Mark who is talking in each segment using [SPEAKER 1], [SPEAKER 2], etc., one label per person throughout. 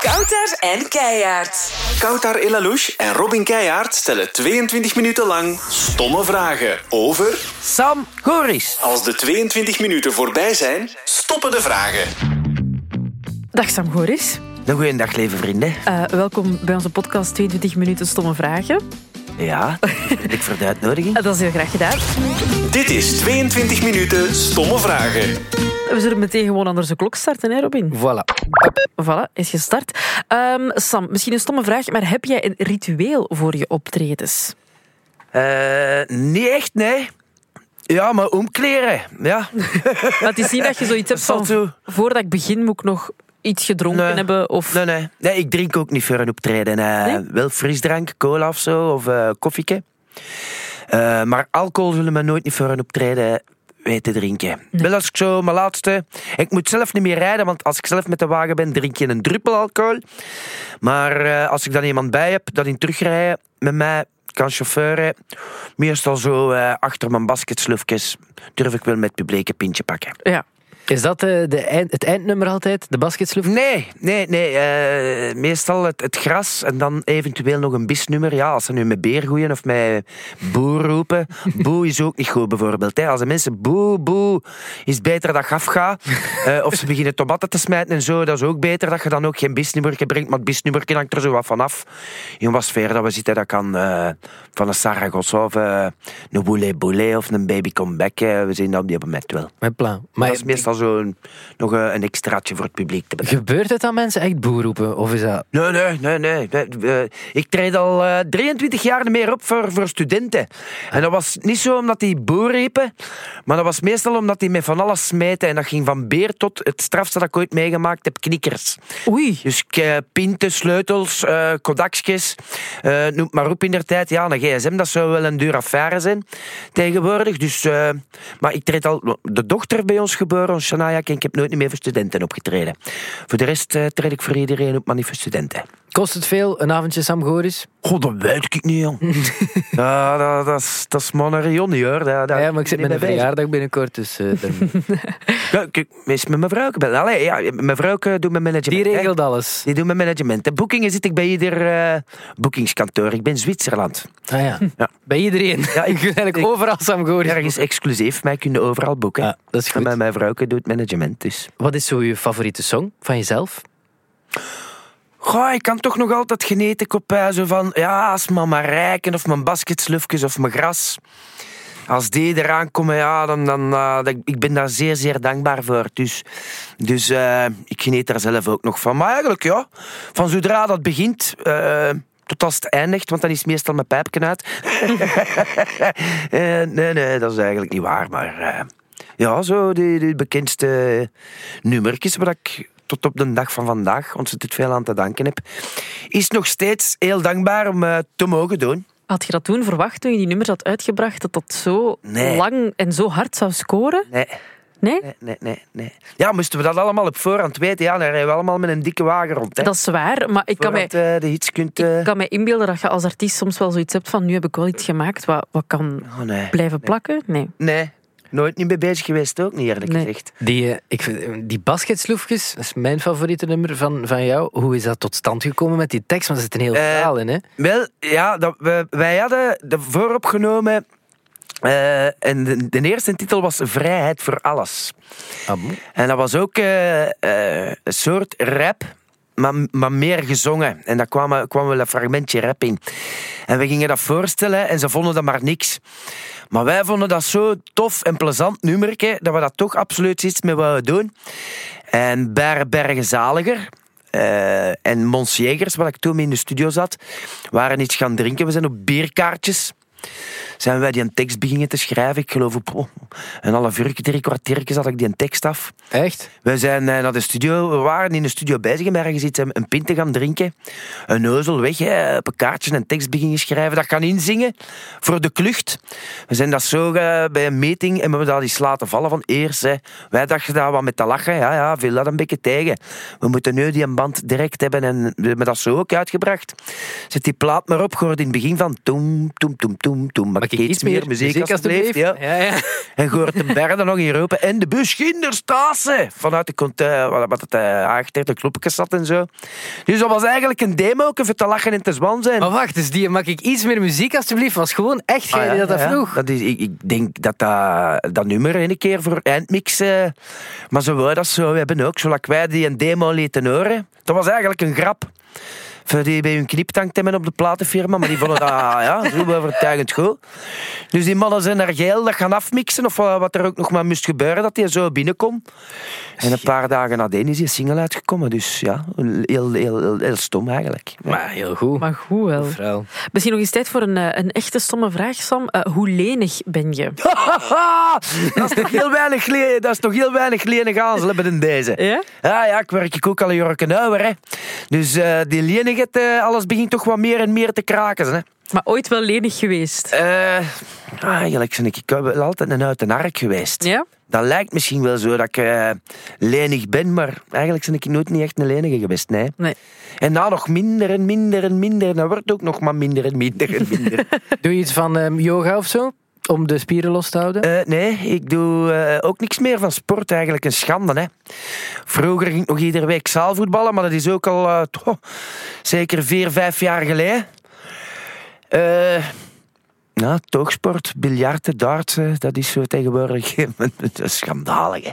[SPEAKER 1] Kouter en Keijaard.
[SPEAKER 2] Koutar Elalouche en Robin Keijaard stellen 22 minuten lang stomme vragen over...
[SPEAKER 3] Sam Goris.
[SPEAKER 2] Als de 22 minuten voorbij zijn, stoppen de vragen.
[SPEAKER 4] Dag Sam Goris.
[SPEAKER 3] De goeiedag, lieve vrienden.
[SPEAKER 4] Eh, welkom bij onze podcast 22 minuten stomme vragen.
[SPEAKER 3] Ja, ik voor de uitnodiging.
[SPEAKER 4] Eh, dat is heel graag gedaan.
[SPEAKER 2] Dit is 22 minuten stomme vragen.
[SPEAKER 4] We zullen meteen gewoon anders de klok starten, hè Robin?
[SPEAKER 3] Voilà.
[SPEAKER 4] Voilà, is gestart. Ehm, Sam, misschien een stomme vraag, maar heb jij een ritueel voor je optredens?
[SPEAKER 3] Eh, niet echt, nee. Ja, maar omkleren. Ja,
[SPEAKER 4] Laat eens zien dat je zoiets hebt
[SPEAKER 3] Tot
[SPEAKER 4] van...
[SPEAKER 3] toe.
[SPEAKER 4] Voordat ik begin moet ik nog iets gedronken
[SPEAKER 3] Nee.
[SPEAKER 4] hebben of...
[SPEAKER 3] Nee, nee. nee, ik drink ook niet voor een optreden. eh.
[SPEAKER 4] Nee?
[SPEAKER 3] Wel frisdrank, cola of zo, of eh koffieke. Eh, maar alcohol zullen we nooit niet voor een optreden weten drinken. Wel als ik zo mijn laatste... Ik moet zelf niet meer rijden, want als ik zelf met de wagen ben, drink je een druppel alcohol. Maar eh, als ik dan iemand bij heb, dat in terugrijden met mij kan chauffeuren, meestal zo eh, achter mijn basketslufjes, durf ik wel met het publiek een pintje pakken.
[SPEAKER 4] Ja.
[SPEAKER 5] Is dat eh, de eind- het eindnummer altijd? De basketsloof?
[SPEAKER 3] Nee, nee, nee. eh, meestal het, het gras en dan eventueel nog een bisnummer. Ja, als ze nu met beer gooien of met boer roepen. Boe is ook niet goed, bijvoorbeeld. Hè. Als de mensen boe, boe, is beter dat je afgaat. Eh, of ze beginnen tomaten te smijten en zo, dat is ook beter. Dat je dan ook geen bisnummerke brengt, maar het bisnummerke hangt er zo wat vanaf. In wat sfeer dat we zitten, dat kan eh, van een Saragos of eh, een boule boule of een baby comeback. eh, we zien dat op dit moment wel.
[SPEAKER 5] Mijn plan.
[SPEAKER 3] Maar
[SPEAKER 5] Maar
[SPEAKER 3] dat is meestal zo'n nog eh, een extraatje voor het publiek te betalen.
[SPEAKER 5] gebeurt het aan mensen echt boer roepen? Of is dat...
[SPEAKER 3] Nee, nee, nee, nee. nee. Eh, ik treed al eh, 23 jaar niet meer op voor, voor studenten. En dat was niet zo omdat die boer riepen, maar dat was meestal omdat die met van alles smeten. En dat ging van beer tot het strafste dat ik ooit meegemaakt heb, knikkers.
[SPEAKER 4] Oei.
[SPEAKER 3] Dus eh, pinten, sleutels, eh kodakjes, eh, noem het maar op in der tijd. Ja, een gsm, dat zou wel een dure affaire zijn tegenwoordig. Dus, eh, maar ik treed al... De dochter bij ons geboren, ons Shania, en ik heb nooit meer voor studenten opgetreden. Voor de rest eh, treed ik voor iedereen op, maar niet voor studenten.
[SPEAKER 5] Kost het veel, een avondje Sam Goris?
[SPEAKER 3] Goh, dat weet ik niet, jong. ja, dat, dat is, dat is mannerion, niet, hoor. Daar- daar
[SPEAKER 5] Ja, maar ik zit
[SPEAKER 3] ben
[SPEAKER 5] met een
[SPEAKER 3] niet mee bezig.
[SPEAKER 5] verjaardag binnenkort, dus... eh, daarmee.
[SPEAKER 3] Ja, kijk, is met mijn vrouw gebeld. Allee, ja, mijn vrouw eh, doet mijn
[SPEAKER 5] die
[SPEAKER 3] management. hè.
[SPEAKER 5] regelt alles.
[SPEAKER 3] Die doen mijn management. De boekingen zit ik bij ieder eh, boekingskantoor. Ik ben Zwitserland.
[SPEAKER 5] Ah ja.
[SPEAKER 3] Ja.
[SPEAKER 5] Bij iedereen. Ja, ik wil eigenlijk
[SPEAKER 3] ik-
[SPEAKER 5] overal Sam Goris.
[SPEAKER 3] Ergens exclusief, mij kunnen overal boeken.
[SPEAKER 5] Ja, dat is
[SPEAKER 3] En
[SPEAKER 5] goed.
[SPEAKER 3] mijn, mijn vrouwke doet management, dus...
[SPEAKER 5] Wat is zo je favoriete song van jezelf?
[SPEAKER 3] Goh, ik kan toch nog altijd geneten op eh, zo van... Ja, als mama rijken of mijn basketslufjes of mijn gras... Als die eraan komen, ja, dan... dan eh, dat- ik ben daar zeer, zeer dankbaar voor. Dus, dus eh, ik geniet daar zelf ook nog van. Maar eigenlijk, ja. Van zodra dat begint... eh, tot als het eindigt, want dan is meestal mijn pijpje uit. Eh, nee, nee, dat is eigenlijk niet waar. Maar eh, ja, zo die, die bekendste nummertjes waar ik tot op de dag van vandaag ontzettend veel aan te danken heb, is nog steeds heel dankbaar om eh, te mogen doen.
[SPEAKER 4] Had je dat toen verwacht, toen je die nummers had uitgebracht, dat dat zo
[SPEAKER 3] Nee.
[SPEAKER 4] lang en zo hard zou scoren?
[SPEAKER 3] Nee,
[SPEAKER 4] Nee?
[SPEAKER 3] nee, nee, nee, nee. Ja, moesten we dat allemaal op voorhand weten? Ja, dan rijden we allemaal met een dikke wagen rond. Hè?
[SPEAKER 4] Dat is waar, maar ik kan mij...
[SPEAKER 3] Voorhand, eh, de hits kunt... eh,
[SPEAKER 4] Ik kan me inbeelden dat je als artiest soms wel zoiets hebt van nu heb ik wel iets gemaakt wat, wat kan
[SPEAKER 3] Oh, nee.
[SPEAKER 4] blijven plakken. Nee.
[SPEAKER 3] nee, nooit niet mee bezig geweest ook, niet eerlijk
[SPEAKER 4] Nee.
[SPEAKER 3] gezegd.
[SPEAKER 5] Die, eh, ik, vind- die basketsloefjes, dat is mijn favoriete nummer van, van jou. Hoe is dat tot stand gekomen met die tekst? Want er zit een heel
[SPEAKER 3] Eh,
[SPEAKER 5] verhaal in, hè?
[SPEAKER 3] Wel, ja, dat, we, wij hadden de vooropgenomen... eh, en de, de eerste titel was Vrijheid voor alles.
[SPEAKER 5] Ah, moe.
[SPEAKER 3] En dat was ook eh, eh, een soort rap, maar, maar meer gezongen. En daar kwam, eh, kwam wel een fragmentje rap in. En we gingen dat voorstellen en ze vonden dat maar niks. Maar wij vonden dat zo tof en plezant nummerke, dat we dat toch absoluut iets mee wouden doen. En Berre Bergen Zaliger eh, en Mons Jegers, waar ik toen mee in de studio zat, waren iets gaan drinken. We zijn op bierkaartjes zijn wij die een tekst beginnen te schrijven. Ik geloof op oh, een half uur, drie kwartiertjes had ik die een tekst af.
[SPEAKER 5] Echt?
[SPEAKER 3] We zijn eh, naar de studio, we waren in de studio bezig en ergens iets eh, een, een pint te gaan drinken. Een neuzel weg, hè, op een kaartje een tekst beginnen schrijven. Dat gaan inzingen voor de klucht. We zijn dat zo eh, bij een meeting en we hebben dat iets laten vallen van eerst. Hè. Wij dachten daar wat met te lachen. Ja, ja, viel dat een beetje tegen. We moeten nu die een band direct hebben en we hebben dat zo ook uitgebracht. Zet die plaat maar op, gehoord in het begin van toem, toem, toem, toem, toem. Maar,
[SPEAKER 5] Maar ik iets meer muziek, alstublieft.
[SPEAKER 3] alstublieft,
[SPEAKER 5] Ja, ja.
[SPEAKER 3] En Goort de Berde nog in Europa. En de bus Ginderstase. Vanuit de cont- eh, wat, wat het uh, aangeterde clubjes zat en zo. Dus dat was eigenlijk een demo voor te lachen en te zwan zijn.
[SPEAKER 5] Maar wacht, dus die maak ik iets meer muziek alstublieft was gewoon echt jij
[SPEAKER 3] Ah,
[SPEAKER 5] die
[SPEAKER 3] ja,
[SPEAKER 5] dat dat
[SPEAKER 3] ja, ja.
[SPEAKER 5] vroeg.
[SPEAKER 3] Dat is, ik, ik denk dat, dat dat nummer een keer voor eindmixen. Maar zo wou dat zo hebben ook. Zolang wij die een demo lieten horen. Dat was eigenlijk een grap. Voor die bij hun kniptank te hebben op de platenfirma. Maar die vonden dat ja, zo overtuigend goed. Dus die mannen zijn er geel dat gaan afmixen. Of wat wat er ook nog maar moest gebeuren. Dat die zo binnenkomt. En een paar dagen nadien is die single uitgekomen. Dus ja, heel, heel, heel, heel stom eigenlijk. Ja.
[SPEAKER 5] Maar heel goed.
[SPEAKER 4] Maar goed wel.
[SPEAKER 5] Vrouw.
[SPEAKER 4] Misschien nog eens tijd voor een, eh, een echte stomme vraag, Sam. Eh, hoe lenig ben je?
[SPEAKER 3] Haha, dat is toch heel weinig lenen, dat is toch heel weinig lenen gaan ze hebben in deze.
[SPEAKER 4] Ja?
[SPEAKER 3] Ja, ja, ik werk ook al een jaar een uur, hè. Dus eh, die lenigheid, eh, alles begint toch wat meer en meer te kraken, hè.
[SPEAKER 4] Maar ooit wel lenig geweest.
[SPEAKER 3] Eh, eigenlijk ben ik, ik wel altijd een uit de ark geweest.
[SPEAKER 4] Ja?
[SPEAKER 3] Dat lijkt misschien wel zo dat ik eh, lenig ben, maar eigenlijk ben ik nooit niet echt een lenige geweest, nee.
[SPEAKER 4] Nee.
[SPEAKER 3] En na nog minder en minder en minder, en dat wordt ook nog maar minder en minder en minder.
[SPEAKER 5] Doe je iets van ehm, yoga of zo? Om de spieren los te houden?
[SPEAKER 3] Eh, nee, ik doe eh, ook niks meer van sport. Eigenlijk een schande. Hè. Vroeger ging ik nog iedere week zaalvoetballen, maar dat is ook al eh, toch, zeker vier, vijf jaar geleden. Eh nou, toogsport, biljarten, darten, dat is zo tegenwoordig dat is schandalig. Hè.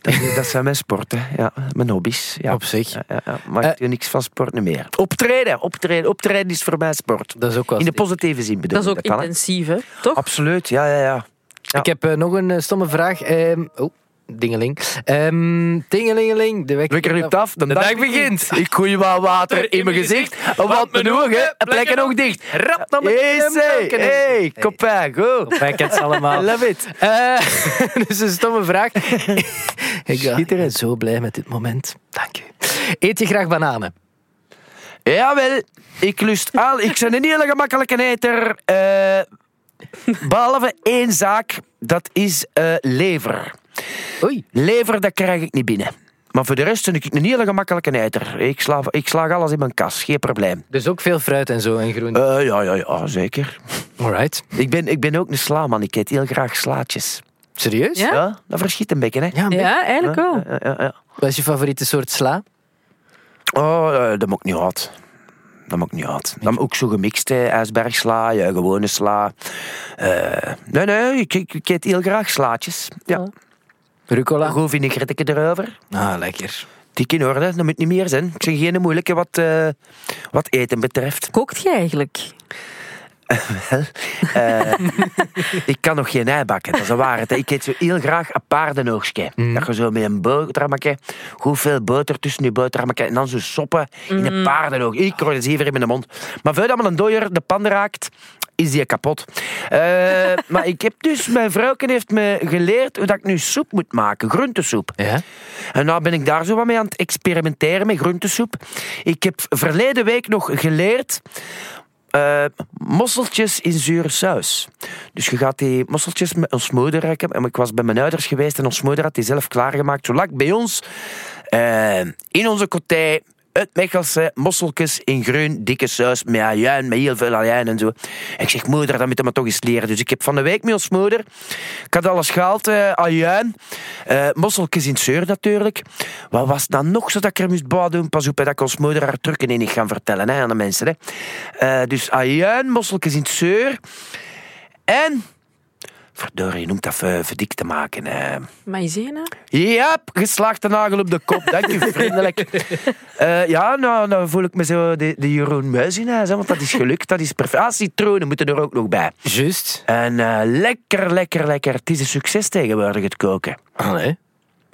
[SPEAKER 3] Dat, dat zijn mijn sporten, ja, mijn hobby's. Ja.
[SPEAKER 5] Op zich.
[SPEAKER 3] Ja, ja, ja, maar ik
[SPEAKER 5] Eh.
[SPEAKER 3] doe niks van sport niet meer. Optreden, optreden, optreden is voor mij sport.
[SPEAKER 5] Dat is ook wel
[SPEAKER 3] In de
[SPEAKER 5] steek.
[SPEAKER 3] positieve zin bedoel
[SPEAKER 4] Dat is ook
[SPEAKER 3] ik dan, hè. Ah,
[SPEAKER 4] intensief, hè? Toch?
[SPEAKER 3] Absoluut, ja, ja, ja. Ja.
[SPEAKER 5] Ik heb eh, nog een eh, stomme vraag. Ehm, oh, dingeling. Ehm dingelingeling. De wekker,
[SPEAKER 3] Wekker riep af, de,
[SPEAKER 5] De dag begint.
[SPEAKER 3] Ik gooi wat water in mijn gezicht, want mijn ogen plekken nog dicht. Rap dan met hey, say, hey, kopijn, go.
[SPEAKER 5] Wij kennen het allemaal.
[SPEAKER 3] Love it.
[SPEAKER 5] Eh, dus een stomme vraag. ik ben- ik ben
[SPEAKER 3] Schitterend.
[SPEAKER 5] zo blij met dit moment. Dank u. Eet je graag bananen?
[SPEAKER 3] Jawel, ik lust al. Ik ben een hele gemakkelijke eter. eh, behalve één zaak, dat is eh, lever.
[SPEAKER 5] Oei.
[SPEAKER 3] Lever, dat krijg ik niet binnen. Maar voor de rest ben ik een hele gemakkelijke eter. Ik sla, ik slaag alles in mijn kas, geen probleem.
[SPEAKER 5] Dus ook veel fruit en zo en groen.
[SPEAKER 3] Eh, ja, ja, ja, zeker.
[SPEAKER 5] Alright.
[SPEAKER 3] Ik ben, ik ben ook een slaman, ik eet heel graag slaatjes.
[SPEAKER 5] Serieus?
[SPEAKER 4] Ja?
[SPEAKER 3] Ja, dat verschiet een beetje, hè.
[SPEAKER 5] Ja, maar
[SPEAKER 4] Ja, eigenlijk wel.
[SPEAKER 3] Ja, ja, ja.
[SPEAKER 5] Wat is je favoriete soort sla?
[SPEAKER 3] Oh, eh, dat moet ik niet uit. Dat moet ik niet uit. Dan ook zo gemixt, hè. ijsbergsla, ja, gewone sla. Eh, nee, nee, ik, ik, ik eet heel graag slaatjes. Ja.
[SPEAKER 5] Rucola?
[SPEAKER 3] Goed vinaigrette erover.
[SPEAKER 5] Ah, lekker.
[SPEAKER 3] Dik in orde, dat moet niet meer zijn. Ik zijn geen moeilijke wat, eh, wat eten betreft.
[SPEAKER 4] Kookt je eigenlijk?
[SPEAKER 3] Ik kan nog geen ei bakken, dat is de waarheid. hè. Ik eet zo heel graag een paardenoogstje. Dat je zo met een boterhammetje, goed veel boter tussen je boterhammetje en dan zo soppen in een paardenoog. Ik hoor het hier in mijn mond. Maar voordat men een dooier de pan raakt, is die kapot. Eh, maar ik heb dus, mijn vrouwken heeft me geleerd hoe dat ik nu soep moet maken, groentesoep.
[SPEAKER 5] Ja?
[SPEAKER 3] En nou ben ik daar zo wat mee aan het experimenteren met groentesoep. Ik heb verleden week nog geleerd eh, mosseltjes in zure saus. Dus je gaat die mosseltjes met ons moeder rekken. En ik was bij mijn ouders geweest en ons moeder had die zelf klaargemaakt. Zolang bij ons eh, in onze kotij het Mechelse mosseltjes in groen, dikke saus, met ajuin, met heel veel ajuin en zo. En ik zeg, moeder, dat moet je maar toch eens leren. Dus ik heb van de week met ons moeder, ik had alles gehaald, eh, ajuin, eh, mosseltjes in zeur natuurlijk. Wat was dan nog zo dat ik er moest bij doen? Pas op, hè, dat ik ons moeder haar trucken in niet gaan vertellen hè, aan de mensen. Hè. Eh, dus ajuin, mosseltjes in zeur en... Verdorie, je noemt dat ver- verdik te maken. hè.
[SPEAKER 4] Maïzena?
[SPEAKER 3] Ja, geslaagde nagel op de kop. Dank u, vriendelijk. Eh, ja, nou, nou voel ik me zo de, de Jeroen Muis in huis. hè, Want dat is gelukt, dat is perfect. Ah, citroenen moeten er ook nog bij.
[SPEAKER 5] Juist.
[SPEAKER 3] En eh, lekker, lekker, lekker. Het is een succes tegenwoordig, het koken.
[SPEAKER 5] Allee.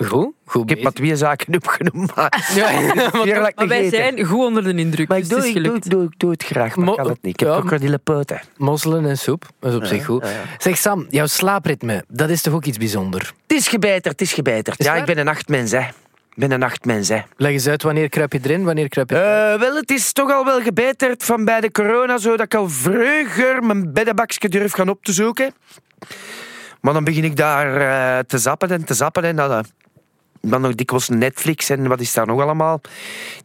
[SPEAKER 5] Goed. Goed
[SPEAKER 3] Ik heb maar
[SPEAKER 5] bezig.
[SPEAKER 3] twee zaken opgenoemd, maar
[SPEAKER 5] Ja, want-
[SPEAKER 3] heerlijk
[SPEAKER 4] Maar wij
[SPEAKER 3] gegeten.
[SPEAKER 4] zijn goed onder de indruk.
[SPEAKER 3] Maar
[SPEAKER 4] dus
[SPEAKER 3] ik doe,
[SPEAKER 4] het is
[SPEAKER 3] ik, doe,
[SPEAKER 4] gelukt.
[SPEAKER 3] ik, doe, ik doe het graag, maar
[SPEAKER 5] Mo-
[SPEAKER 3] ik kan het niet. Ik heb
[SPEAKER 5] ja,
[SPEAKER 3] krokodille poten.
[SPEAKER 5] Mosselen en soep. Dat is op zich goed. Zeg Sam, jouw slaapritme, dat is toch ook iets bijzonders?
[SPEAKER 3] Het is gebeterd, het is gebeterd.
[SPEAKER 5] Is
[SPEAKER 3] Ja,
[SPEAKER 5] waar?
[SPEAKER 3] ik ben een nachtmens, hè. Ik ben een nachtmens, hè.
[SPEAKER 5] Leg eens uit, wanneer kruip je erin, wanneer kruip je
[SPEAKER 3] Eh, wel, het is toch al wel gebeterd van bij de corona, zo dat ik al vreugder mijn beddenbakje durf gaan op te zoeken. Maar dan begin ik daar eh, te zappen en te zappen en dan, eh, dan nog dikwijls Netflix en wat is daar nog allemaal.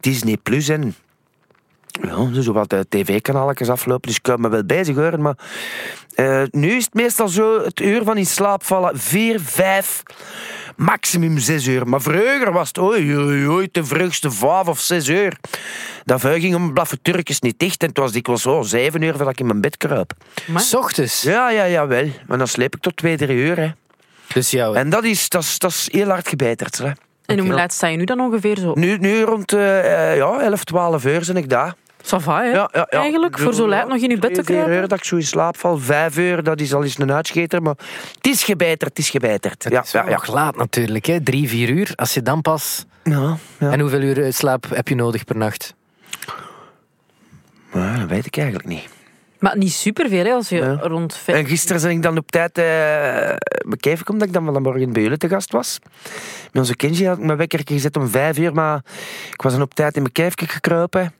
[SPEAKER 3] Disney Plus en Ja, zo wat eh, tv-kanalletjes aflopen, dus ik hou me wel bezig hoor. Maar eh, nu is het meestal zo, het uur van in slaap vallen, vier, vijf, maximum zes uur. Maar vroeger was het, oei, oei, oei, ten vroegste vijf of zes uur. Dat ging om blaffe Turkjes niet dicht en het was dikwijls zo zeven uur voordat ik in mijn bed kruip.
[SPEAKER 4] Maar-
[SPEAKER 5] S Ochtends.
[SPEAKER 3] Ja, ja, ja, wel. Maar dan sleep ik tot twee, drie uur. Hè.
[SPEAKER 5] Dus jouw
[SPEAKER 3] En dat is, dat, is, dat is heel hard gebeterd. Hè.
[SPEAKER 4] En hoe laat sta je nu dan ongeveer zo?
[SPEAKER 3] Nu, nu rond eh, eh, ja, 11, 12 uur ben ik daar.
[SPEAKER 4] Sava, hè?
[SPEAKER 3] Ja, ja, ja.
[SPEAKER 4] Eigenlijk,
[SPEAKER 3] Ik
[SPEAKER 4] voor zo
[SPEAKER 3] bedoel,
[SPEAKER 4] laat
[SPEAKER 3] ja,
[SPEAKER 4] nog in je bed te
[SPEAKER 3] twee, vier
[SPEAKER 4] krijgen.
[SPEAKER 3] uur dat ik zo in slaap val. Vijf uur, dat is al eens een uitscheter. Maar het is gebeterd, het is gebeterd. Ja,
[SPEAKER 5] is
[SPEAKER 3] ja,
[SPEAKER 5] wel
[SPEAKER 3] ja.
[SPEAKER 5] nog laat natuurlijk, hè? drie, vier uur. Als je dan pas...
[SPEAKER 3] ja, ja.
[SPEAKER 5] En hoeveel uur eh, slaap heb je nodig per nacht?
[SPEAKER 3] Maar dat weet ik eigenlijk niet.
[SPEAKER 4] Maar niet superveel, hè, als je
[SPEAKER 3] Ja.
[SPEAKER 4] rond vijf...
[SPEAKER 3] En gisteren ben ik dan op tijd eh bekijken, omdat ik dan vanmorgen bij jullie te gast was. Met onze kindje had ik mijn wekker gezet om vijf uur, maar ik was dan op tijd in mijn kijfje gekruipen.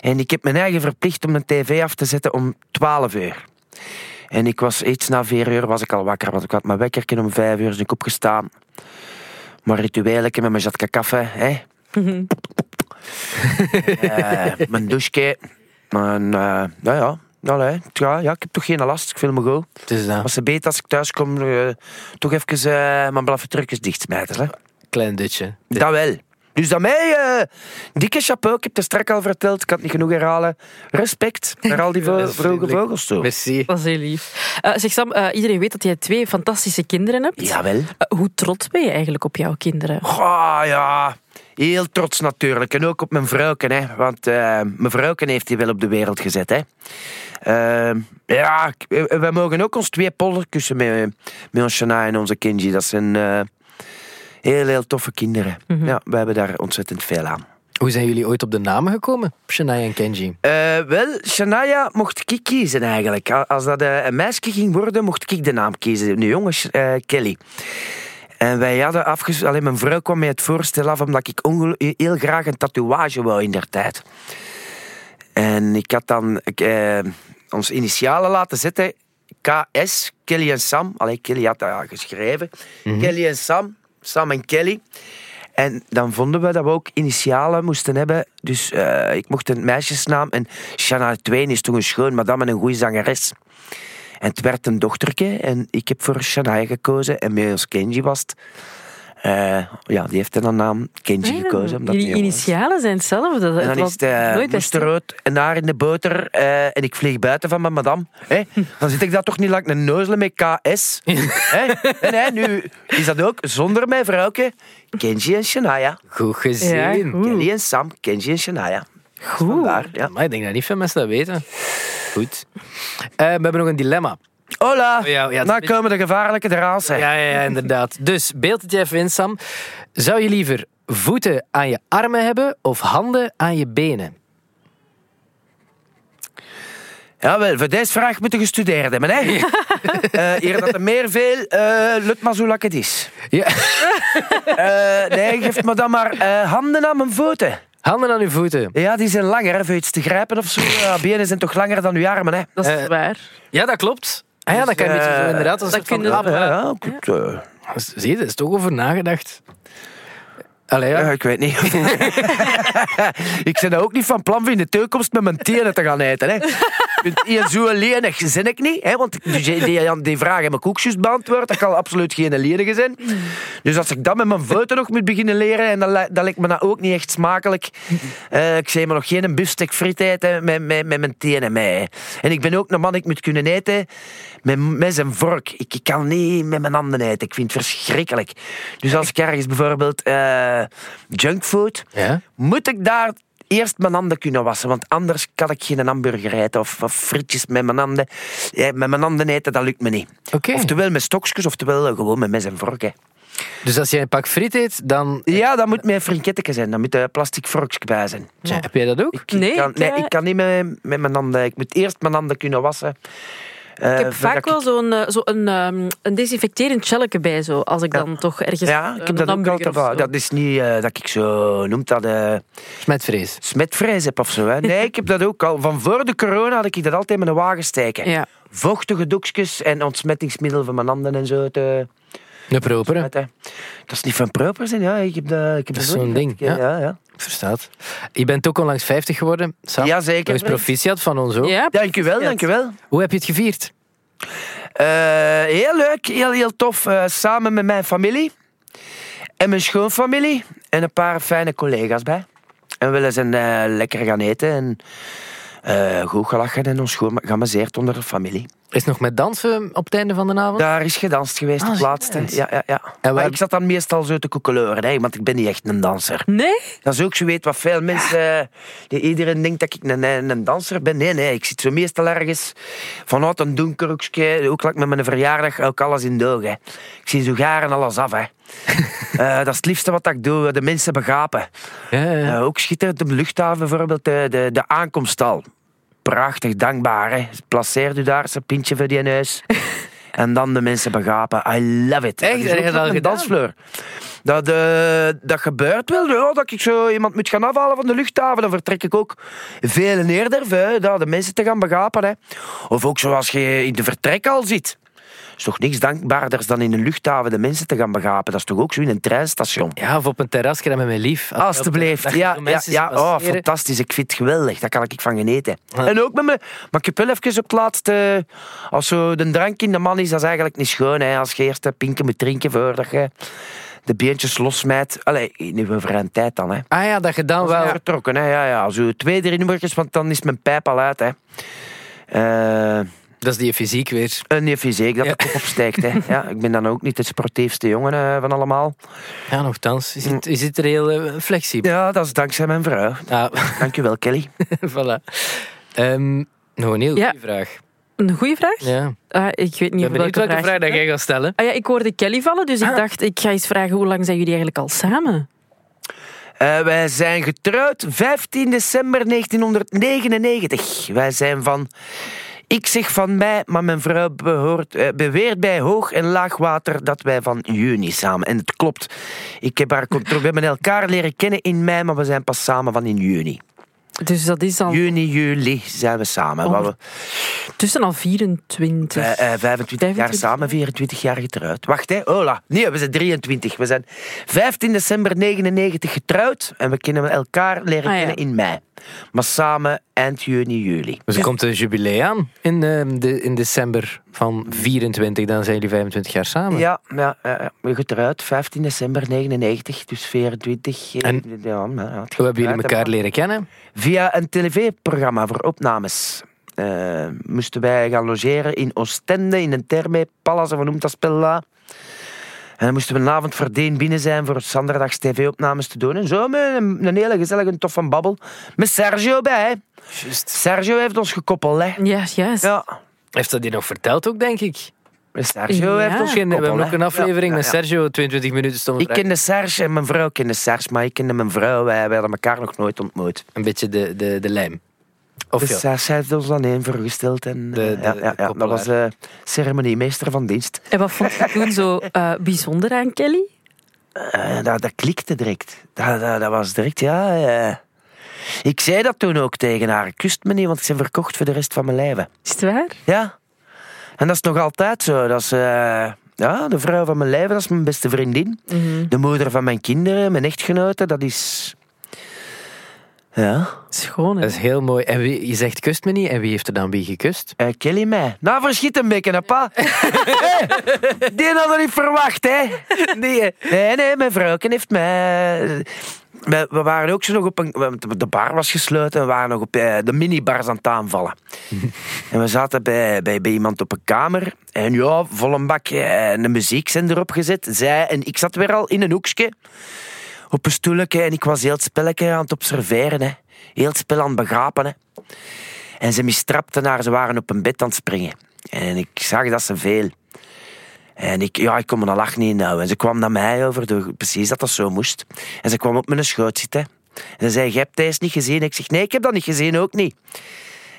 [SPEAKER 3] En ik heb mijn eigen verplicht om de tv af te zetten om twaalf uur. En ik was iets na vier uur was ik al wakker, want ik had mijn wekker om vijf uur, dus ik opgestaan. Maar ritueeletje met mijn jatka kaffe, hè. Eh, mijn douche. Mijn, eh ja, ja. Allee, ja, ja, ik heb toch geen last, ik voel me goed.
[SPEAKER 5] Dus dan,
[SPEAKER 3] Maar ze beter als ik thuis kom, eh, toch even eh, mijn blaffe trucjes dichtsmijten. Hè?
[SPEAKER 5] klein dutje.
[SPEAKER 3] Dat wel. Dus daarmee, eh, dikke chapeau. Ik heb het straks al verteld, ik kan het niet genoeg herhalen. Respect naar al die
[SPEAKER 5] Dat
[SPEAKER 3] vo-
[SPEAKER 5] is
[SPEAKER 3] vroege
[SPEAKER 5] vriendelijk.
[SPEAKER 3] vogels toe.
[SPEAKER 5] Merci.
[SPEAKER 4] Dat is heel lief. Eh, zeg Sam, eh, iedereen weet dat jij twee fantastische kinderen hebt.
[SPEAKER 3] Jawel.
[SPEAKER 4] Eh, hoe trots ben je eigenlijk op jouw kinderen?
[SPEAKER 3] Goh, ja. Heel trots natuurlijk. En ook op mijn vrouwken, hè. Want eh, mijn vrouwken heeft hij wel op de wereld gezet, hè. Ehm, ja, k- eh, wij mogen ook ons twee polderkussen met, met ons Shana en onze Kenji. Dat zijn eh, heel, heel toffe kinderen. Ja, we hebben daar ontzettend veel aan.
[SPEAKER 5] Hoe zijn jullie ooit op de namen gekomen? Shania en Kenji.
[SPEAKER 3] Eh, wel, Shania mocht ik kiezen eigenlijk. A- Als dat eh, een meisje ging worden, mocht ik de naam kiezen. Nu jongens, eh, Kelly. En wij hadden afges... Alleen mijn vrouw kwam mij het voorstel af omdat ik ongel- heel graag een tatoeage wou in der tijd. En ik had dan ik, eh, ons initialen laten zetten. KS, Kelly en Sam. Allee, Kelly had dat ja, geschreven. Kelly en Sam, Sam en Kelly. En dan vonden we dat we ook initialen moesten hebben. Dus eh, ik mocht een meisjesnaam. En Shanna Twain is toen een schoon madame en een goede zangeres. En het werd een dochterke. En ik heb voor Shania gekozen. En mee als Kenji was het. Eh, ja, die heeft dan een naam Kenji
[SPEAKER 4] Ah,
[SPEAKER 3] gekozen. Omdat
[SPEAKER 4] jullie
[SPEAKER 3] die jongen is.
[SPEAKER 4] initialen zijn hetzelfde.
[SPEAKER 3] En dan is het eh, moesterrood en daar in de boter. eh, en ik vlieg buiten van mijn madame. hè? Dan zit ik daar toch niet lang een neuzelen met KS. hè? En hè, nu is dat ook zonder mijn vrouwke. Kenji en Shania.
[SPEAKER 5] Goed gezien.
[SPEAKER 4] goed. Oeh.
[SPEAKER 3] Kelly en Sam, Kenji en Shania.
[SPEAKER 4] goed.
[SPEAKER 3] Vandaar, ja.
[SPEAKER 5] Maar ik denk dat niet veel mensen dat weten. Goed. Eh, we hebben nog een dilemma.
[SPEAKER 3] Hola!
[SPEAKER 5] Oh, ja, ja, dat is
[SPEAKER 3] nou
[SPEAKER 5] een beetje-
[SPEAKER 3] komen de gevaarlijke eraan zijn.
[SPEAKER 5] Ja, ja, ja, inderdaad. Dus beeld het je even in, Sam. Zou je liever voeten aan je armen hebben of handen aan je benen?
[SPEAKER 3] Jawel, voor deze vraag moeten gestudeerd hebben, hè? Eh, hier dat er meer veel, eh lut maar zo lak het is.
[SPEAKER 5] Ja.
[SPEAKER 3] Eh, nee, geef me dan maar eh, handen aan mijn voeten.
[SPEAKER 5] Handen aan je voeten.
[SPEAKER 3] Ja, die zijn langer, hè, voor iets te grijpen of zo. Ja, benen zijn toch langer dan uw armen, hè?
[SPEAKER 4] Dat is
[SPEAKER 5] Eh,
[SPEAKER 4] waar.
[SPEAKER 5] Ja, dat klopt. Ah ja, dat kan je een
[SPEAKER 3] eh,
[SPEAKER 5] beetje zo inderdaad. Als
[SPEAKER 4] dat
[SPEAKER 5] een soort
[SPEAKER 4] kun je-
[SPEAKER 5] van-
[SPEAKER 3] Ja, ja, goed, eh,
[SPEAKER 5] Ah, Zie je, er is toch over nagedacht. Allee, ja.
[SPEAKER 3] ja, ik weet niet. ik ben ook niet van plan voor in de toekomst met mijn tenen te gaan eten. Hè. Je kunt Hier zo lenig zin ik niet, hè, want die, die, die vraag heb ik ook juist beantwoord. Dat kan absoluut geen lenige zijn. Dus als ik dat met mijn voeten nog moet beginnen leren, en dat, li- dat lijkt me nou ook niet echt smakelijk. Eh, ik zei me nog geen biefstuk friet eten met, met, met mijn tenen. Mee. En ik ben ook een man, ik moet kunnen eten met, met zijn vork. Ik, ik kan niet met mijn handen eten. Ik vind het verschrikkelijk. Dus als ik ergens bijvoorbeeld eh junkfood,
[SPEAKER 5] Ja.
[SPEAKER 3] moet ik daar eerst mijn handen kunnen wassen. Want anders kan ik geen hamburger eten of, of frietjes met mijn handen. Eh, met mijn handen eten, dat lukt me niet.
[SPEAKER 5] Oké.
[SPEAKER 3] Oftewel met stokjes, oftewel eh, gewoon met mes en vork. hè.
[SPEAKER 5] Dus als jij een pak friet eet, dan...
[SPEAKER 3] Ja, dat moet met een friketje zijn. Dat moet een plastic vorkje bij zijn.
[SPEAKER 5] Tja, heb jij dat ook?
[SPEAKER 3] Ik
[SPEAKER 4] Nee,
[SPEAKER 3] kan,
[SPEAKER 4] ik,
[SPEAKER 3] nee,
[SPEAKER 4] eh,
[SPEAKER 3] ik kan niet met, met mijn handen. Ik moet eerst mijn handen kunnen wassen. Eh,
[SPEAKER 4] Ik heb
[SPEAKER 3] voordat
[SPEAKER 4] vaak wel zo'n eh, zo een, ehm, een desinfecterend jelletje bij, zo, als ik dan toch ergens...
[SPEAKER 3] Ja, ik
[SPEAKER 4] eh,
[SPEAKER 3] heb
[SPEAKER 4] een
[SPEAKER 3] dat ook
[SPEAKER 4] hamburger
[SPEAKER 3] altijd
[SPEAKER 4] of
[SPEAKER 3] wel.
[SPEAKER 4] zo.
[SPEAKER 3] Dat is niet eh, dat ik zo noem dat eh
[SPEAKER 5] Smetvrees.
[SPEAKER 3] smetvrees heb of zo. Hè. Nee, ik heb dat ook al. Van voor de corona had ik dat altijd met een wagen steken.
[SPEAKER 4] Ja.
[SPEAKER 3] Vochtige doekjes en ontsmettingsmiddel van mijn handen en zo. Te...
[SPEAKER 5] Een propere.
[SPEAKER 3] Met, hè. Dat is niet van proper zijn, ja. Ik heb dat, ik heb
[SPEAKER 5] Dat is
[SPEAKER 3] ook
[SPEAKER 5] zo'n
[SPEAKER 3] niet
[SPEAKER 5] ding,
[SPEAKER 3] gehad. Ja, ja.
[SPEAKER 5] Verstaat. Je bent ook onlangs 50 geworden. Sam,
[SPEAKER 3] Ja, zeker.
[SPEAKER 5] nog eens proficiat van ons ook.
[SPEAKER 4] Ja,
[SPEAKER 3] Dank u wel, dank u wel.
[SPEAKER 5] Hoe heb je het gevierd?
[SPEAKER 3] Eh, heel leuk, heel, heel tof. eh, samen met mijn familie en mijn schoonfamilie en een paar fijne collega's bij. En we willen zijn eh, lekker gaan eten en eh, goed gelachen en ons goed geamuseerd onder de familie.
[SPEAKER 5] Is het nog met dansen op het einde van de avond?
[SPEAKER 3] Daar is gedanst geweest,
[SPEAKER 5] Oh. Ah,
[SPEAKER 3] het laatste.
[SPEAKER 5] schitterend.
[SPEAKER 3] Ja, ja, ja.
[SPEAKER 5] En waar-
[SPEAKER 3] Maar ik zat dan meestal zo te koekeleuren, hè, want ik ben niet echt een danser.
[SPEAKER 4] Nee?
[SPEAKER 3] Dat is ook zo weet wat veel mensen. eh, die iedereen denkt dat ik een, een, een danser ben. Nee, nee, ik zit zo meestal ergens vanuit een donker hoekje. Ook like met mijn verjaardag ook alles in de ogen. Ik zie zo gaar en alles af. Hè. Eh, dat is het liefste wat dat ik doe. De mensen begapen.
[SPEAKER 5] Ja, ja, ja.
[SPEAKER 3] Eh, ook schitterend op de luchthaven bijvoorbeeld. De, de, de aankomstal. Prachtig, dankbaar. Hè. Placeer u daar zijn pintje voor die neus. En dan de mensen begapen. I love it.
[SPEAKER 5] Echt?
[SPEAKER 3] Dat is
[SPEAKER 5] Heb je
[SPEAKER 3] ook
[SPEAKER 5] dat al
[SPEAKER 3] een
[SPEAKER 5] gedaan?
[SPEAKER 3] dansvloer. Dat, eh, dat gebeurt wel, ja, dat ik zo iemand moet gaan afhalen van de luchthaven. Dan vertrek ik ook veel eerder, hè, dat de mensen te gaan begapen. Hè. Of ook zoals je in de vertrek al zit. is toch niks dankbaarders dan in een luchthaven de mensen te gaan begapen. Dat is toch ook zo in een treinstation.
[SPEAKER 5] Ja, of op een terrasje dan met mijn lief. Ah,
[SPEAKER 3] Alsjeblieft.
[SPEAKER 5] Op een dag
[SPEAKER 3] Ja,
[SPEAKER 5] zo
[SPEAKER 3] ja,
[SPEAKER 5] mensen
[SPEAKER 3] ja.
[SPEAKER 5] zien
[SPEAKER 3] Oh,
[SPEAKER 5] passeren.
[SPEAKER 3] fantastisch. Ik vind het geweldig. Daar kan ik van genieten.
[SPEAKER 5] Ja.
[SPEAKER 3] En ook met me. Maar ik heb wel even op het laatste. Als zo de drank in de man is, dat is eigenlijk niet schoon. Hè. Als je eerst eh, pinken moet drinken voordat je de beentjes losmijt. Allee, in uw vrije tijd dan. Hè.
[SPEAKER 5] Ah ja, dat je dan
[SPEAKER 3] Wel
[SPEAKER 5] wel...
[SPEAKER 3] vertrokken, hè. Ja, ja. Zo twee, drie nummertjes, want dan is mijn pijp al uit. Hè. Eh,
[SPEAKER 5] Dat is die fysiek weer.
[SPEAKER 3] en nee, vies, ik dat
[SPEAKER 5] Ja.
[SPEAKER 3] de kop opstijgt. Hè. Ja, ik ben dan ook niet de sportiefste jongen eh, van allemaal.
[SPEAKER 5] Ja, nogthans. Je
[SPEAKER 3] Mm.
[SPEAKER 5] zit, je zit er heel eh, flexibel.
[SPEAKER 3] Ja, dat is dankzij mijn vrouw.
[SPEAKER 5] Ah,
[SPEAKER 3] Dankjewel, Kelly.
[SPEAKER 5] voilà. Ehm, nog een heel
[SPEAKER 4] Ja.
[SPEAKER 5] goede vraag.
[SPEAKER 4] Een goede vraag?
[SPEAKER 5] Ja.
[SPEAKER 4] Ah, ik weet
[SPEAKER 5] Ik
[SPEAKER 4] niet
[SPEAKER 5] ben
[SPEAKER 4] of
[SPEAKER 5] benieuwd welke vraag dat jij gaat stellen.
[SPEAKER 4] Ah ja, ik hoorde Kelly vallen, dus ik dacht, ik ga eens vragen hoe lang zijn jullie eigenlijk al samen?
[SPEAKER 3] Eh, wij zijn getrouwd 15 december 1999. Wij zijn van. Ik zeg van mij, maar mijn vrouw behoort, eh, beweert bij hoog en laag water dat wij van juni samen. En het klopt. Ik heb haar contro- we hebben elkaar leren kennen in mei, maar we zijn pas samen van in juni.
[SPEAKER 4] Dus dat is al
[SPEAKER 3] Juni, juli zijn we samen. Wat we,
[SPEAKER 4] tussen al 24.
[SPEAKER 3] eh, eh, 25, jaar
[SPEAKER 4] 25
[SPEAKER 3] samen, 24 jaar getrouwd. Wacht, hè. Hola. Nee, we zijn 23. We zijn 15 december 99 getrouwd. En we kennen elkaar leren
[SPEAKER 4] Ah, ja.
[SPEAKER 3] kennen in mei. Maar samen eind juni, juli.
[SPEAKER 5] Dus er komt een jubileum aan in, ehm, de, in december van 24. Dan zijn jullie 25 jaar samen.
[SPEAKER 3] Ja, ja, ja, ja. getrouwd 15 december 99, dus 24. eh,
[SPEAKER 5] En-
[SPEAKER 3] ja, ja, ja, het
[SPEAKER 5] Hoe hebben jullie
[SPEAKER 3] getrouwd, hè.
[SPEAKER 5] elkaar leren kennen?
[SPEAKER 3] Via een tv-programma voor opnames. eh, moesten wij gaan logeren in Oostende, in een terme, Palace, of hoe noemt dat spel daar? En dan moesten we een avond verdien binnen zijn voor zanderdags tv-opnames te doen. En zo met een, een hele gezellige, toffe babbel. Met Sergio bij. hè. Sergio heeft ons gekoppeld, hè.
[SPEAKER 4] Ja, juist.
[SPEAKER 3] Ja,
[SPEAKER 5] Heeft dat die nog verteld ook, denk ik?
[SPEAKER 3] met Sergio
[SPEAKER 4] Ja.
[SPEAKER 3] heeft ons
[SPEAKER 4] Ah,
[SPEAKER 5] we
[SPEAKER 3] gekoppeld,
[SPEAKER 5] hebben ook
[SPEAKER 3] Ah, hè.
[SPEAKER 5] een aflevering
[SPEAKER 3] Ja,
[SPEAKER 5] met
[SPEAKER 3] ja, ja.
[SPEAKER 5] Sergio, 22 minuten stond
[SPEAKER 3] Ik kende Serge en mijn vrouw kende Serge, maar ik kende mijn vrouw. Wij, wij hadden elkaar nog nooit ontmoet.
[SPEAKER 5] een beetje de, de, de lijm. Of
[SPEAKER 3] Dus
[SPEAKER 5] ja.
[SPEAKER 3] Serge heeft ons dan één voorgesteld. En,
[SPEAKER 5] De-
[SPEAKER 3] eh,
[SPEAKER 5] de-
[SPEAKER 3] ja,
[SPEAKER 5] de
[SPEAKER 3] ja, ja, dat
[SPEAKER 5] koppelaar.
[SPEAKER 3] was eh ceremoniemeester van dienst.
[SPEAKER 4] En wat vond je toen zo eh, bijzonder aan Kelly?
[SPEAKER 3] Eh, dat, dat klikte direct. Dat, dat, dat was direct, ja. eh. Ik zei dat toen ook tegen haar. Kust me niet, want ik ben verkocht voor de rest van mijn leven.
[SPEAKER 4] Is het waar?
[SPEAKER 3] Ja. En dat is nog altijd zo. Dat is, eh, ja, de vrouw van mijn leven, dat is mijn beste vriendin. De moeder van mijn kinderen, mijn echtgenote, dat is... Ja.
[SPEAKER 4] Schoon, hè?
[SPEAKER 5] Dat is heel mooi. En wie, je zegt kust me niet. En wie heeft er dan wie gekust?
[SPEAKER 3] Eh, Kelly mij. Nou, verschiet een beetje, hè, pa. Hey, die hadden we niet verwacht, hè. Nee, nee, nee mijn vrouwken heeft mij... eh, We, we waren ook zo nog op een... want De bar was gesloten en we waren nog op eh, de minibars aan het aanvallen. en we zaten bij, bij, bij iemand op een kamer. En ja, vol een bak eh, een muziekzender opgezet. Zij en ik zat weer al in een hoekje. Op een stoelje en ik was heel het spelletje aan het observeren. Hè. Heel het spel aan het begapen, hè. En ze mistrapten haar, ze waren op een bed aan het springen. En ik zag dat ze veel. En ik, ja, ik kon mijn lach niet inhouden. En ze kwam naar mij over, de, precies dat dat zo moest. En ze kwam op mijn schoot zitten. En ze zei, je hebt Thijs niet gezien. Ik zeg, nee, ik heb dat niet gezien, ook niet.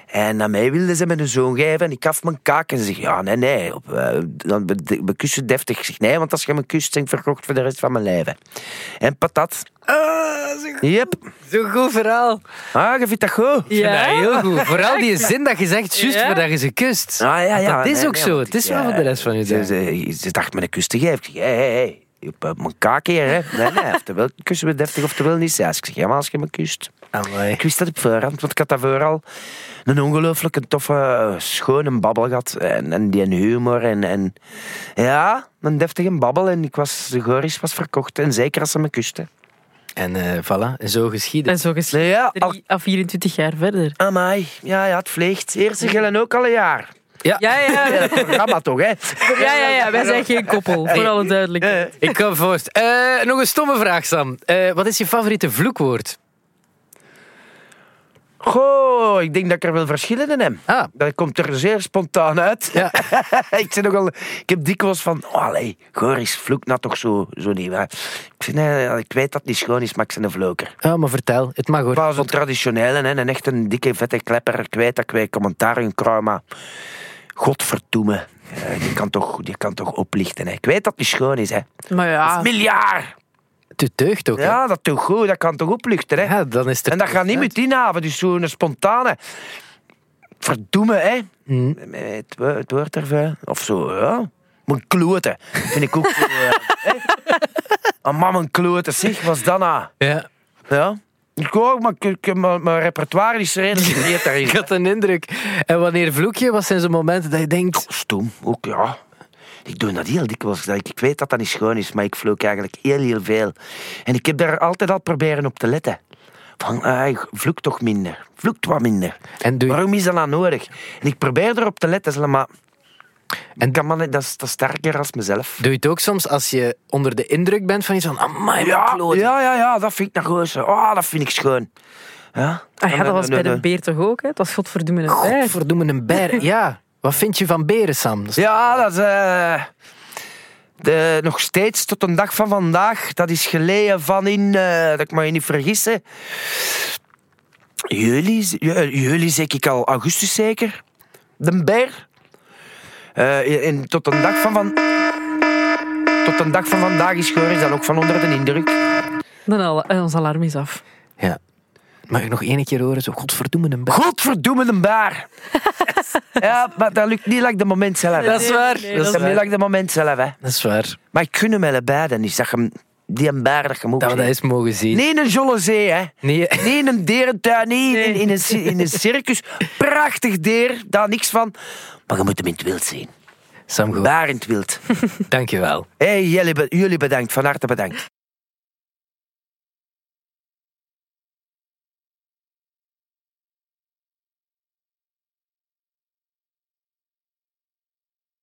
[SPEAKER 3] En aan mij wilde ze met een zoon geven en ik gaf mijn kaak. En ze zegt, ja, nee, nee, op, eh, dan be, be- kussen deftig. Ik zeg, nee, want als je me kust, ben ik verkocht voor de rest van mijn leven. En patat, Ah, Yep.
[SPEAKER 5] Zo'n goed verhaal.
[SPEAKER 3] Ah, je vindt dat goed?
[SPEAKER 5] Ja, heel goed. Vooral die zin dat je zegt, juist
[SPEAKER 4] Ja.
[SPEAKER 5] voordat je ze kust.
[SPEAKER 3] Ah, ja, ja.
[SPEAKER 5] Dat is
[SPEAKER 3] Nee,
[SPEAKER 5] ook
[SPEAKER 3] nee,
[SPEAKER 5] zo.
[SPEAKER 3] want
[SPEAKER 5] Het is
[SPEAKER 3] ik-
[SPEAKER 5] wel
[SPEAKER 3] ja,
[SPEAKER 5] voor de rest van je
[SPEAKER 3] Ze,
[SPEAKER 5] dag.
[SPEAKER 3] ze, ze dacht me een kus te geven. Ik zeg, hé, hé, hé. Op eh, mijn kaak hier, hè. Nee, nee. Oftewel kussen we deftig, oftewel niet. Ja, ik zeg, ja, maar als je me kust. Ik wist dat op voorhand, want ik had daarvoor al een ongelooflijk toffe, eh, schone babbel gehad. En, en die humor en, en... Ja, een deftige babbel. En ik was, de Goris was verkocht. En zeker als ze me kuste.
[SPEAKER 5] En eh, voilà, zo geschieden.
[SPEAKER 4] En zo geschieden.
[SPEAKER 3] Ja, al,
[SPEAKER 4] Drie à 24 jaar verder.
[SPEAKER 3] amai. Ja, ja, het vleegt. Eerste gillen ook al een jaar.
[SPEAKER 4] Ja, ja, ja.
[SPEAKER 3] Programma toch, hè?
[SPEAKER 4] ja, ja, ja. Wij zijn geen koppel, voor alle duidelijkheid.
[SPEAKER 5] Ik kan voorst. Eh, nog een stomme vraag, Sam. Eh, wat is je favoriete vloekwoord?
[SPEAKER 3] Goh, ik denk dat ik er wel verschillen in heb.
[SPEAKER 5] Ah.
[SPEAKER 3] Dat komt er zeer spontaan uit.
[SPEAKER 5] Ja.
[SPEAKER 3] ik, zit nogal, ik heb dikwijls van, oh allee, Goris, vloek nou toch zo, zo niet. hè. Ik, vind, eh, ik weet dat het niet schoon is, maar ik ben een vloker.
[SPEAKER 5] Ah, maar vertel. Het mag hoor.
[SPEAKER 3] Maar zo'n traditionele, hè, een echt een dikke, vette klepper. Ik weet dat ik wij commentaar in kruim, maar... Godverdoeme. Eh, die, kan toch, die kan toch oplichten, hè. Ik weet dat het niet schoon is, hè.
[SPEAKER 4] Maar
[SPEAKER 5] Ah.
[SPEAKER 4] ja,
[SPEAKER 3] Miljard!
[SPEAKER 5] Te deugd ook. hè?
[SPEAKER 3] Ja, dat doet goed. Dat kan toch oplichten, hè.
[SPEAKER 5] Ja, dan is het er
[SPEAKER 3] En dat gaat niet
[SPEAKER 5] uit.
[SPEAKER 3] meteen haven, dus zo'n spontane. Verdomme, hè?
[SPEAKER 5] Hmm.
[SPEAKER 3] Het, wo- het woord ervan. Of zo, ja. Mijn kloten. Vind ik ook. zo, eh, hè. Ah, man, mijn kloten, zeg, was dat nou?
[SPEAKER 5] Ja.
[SPEAKER 3] Ja. Ik hoor, maar ik- ik- mijn, mijn repertoire dus is redelijk breed daarin.
[SPEAKER 5] Ik had een indruk. En wanneer vloek je, wat zijn zo'n momenten dat je denkt...
[SPEAKER 3] Stoem, ook ja. Ik doe dat heel dikwijls. dat Ik, ik weet dat dat niet schoon is, maar ik vloek eigenlijk heel, heel veel. En ik heb daar altijd al proberen op te letten. Van, ah, vloek toch minder. Vloek wat minder.
[SPEAKER 5] En doe je-
[SPEAKER 3] Waarom is dat nou nodig? En ik probeer erop te letten, zeg maar... En kan man, dat, is, dat is sterker als mezelf.
[SPEAKER 5] Doe je het ook soms als je onder de indruk bent van iets van... "Ah, Amai, wat
[SPEAKER 3] Ja,
[SPEAKER 5] kloten."
[SPEAKER 3] ja, ja, ja, dat vind ik nog goos. Oh, dat vind ik schoon. Ja,
[SPEAKER 4] ah, ja, dat was bij de
[SPEAKER 3] Nee, nee.
[SPEAKER 4] beer toch ook, hè? Het was godverdomme een beer.
[SPEAKER 5] Godverdomme, een beer. Ja. Wat vind je van beren, Sam? Dat is-
[SPEAKER 3] Ja, dat is... eh, de, nog steeds tot de dag van vandaag. Dat is geleden van in... eh, dat ik me niet vergissen. Juli, ja, juli zeg ik al. Augustus zeker. De Ber. Eh, en tot de dag van... van tot de dag van vandaag is Goris dan ook van onder de indruk.
[SPEAKER 4] Dan al, en ons alarm is af.
[SPEAKER 5] Ja. Mag ik nog één keer horen? Zo, godverdomme, een beer.
[SPEAKER 3] Godverdomme een baar. ja, maar dat lukt niet like de moment zelf. hè.
[SPEAKER 5] Dat is waar.
[SPEAKER 4] nee,
[SPEAKER 5] dat, is
[SPEAKER 3] Dat
[SPEAKER 5] waar.
[SPEAKER 3] lukt niet like de moment zelf, hè.
[SPEAKER 5] dat is waar.
[SPEAKER 3] Maar ik gun hem allebei, dan is dat je hem- die een baar dat je hem ook
[SPEAKER 5] Dat we dat
[SPEAKER 3] geeft.
[SPEAKER 5] eens mogen zien.
[SPEAKER 3] Nee, een jolozee, hè.
[SPEAKER 5] Nee.
[SPEAKER 3] Nee, een derentuin, nee, in, in, een, ci- in een circus. Prachtig deer, daar niks van. Maar je moet hem in het wild zien.
[SPEAKER 5] Sam, goed.
[SPEAKER 3] Daar in het wild.
[SPEAKER 5] Dankjewel.
[SPEAKER 3] Hé, jullie, be- jullie bedankt, van harte bedankt.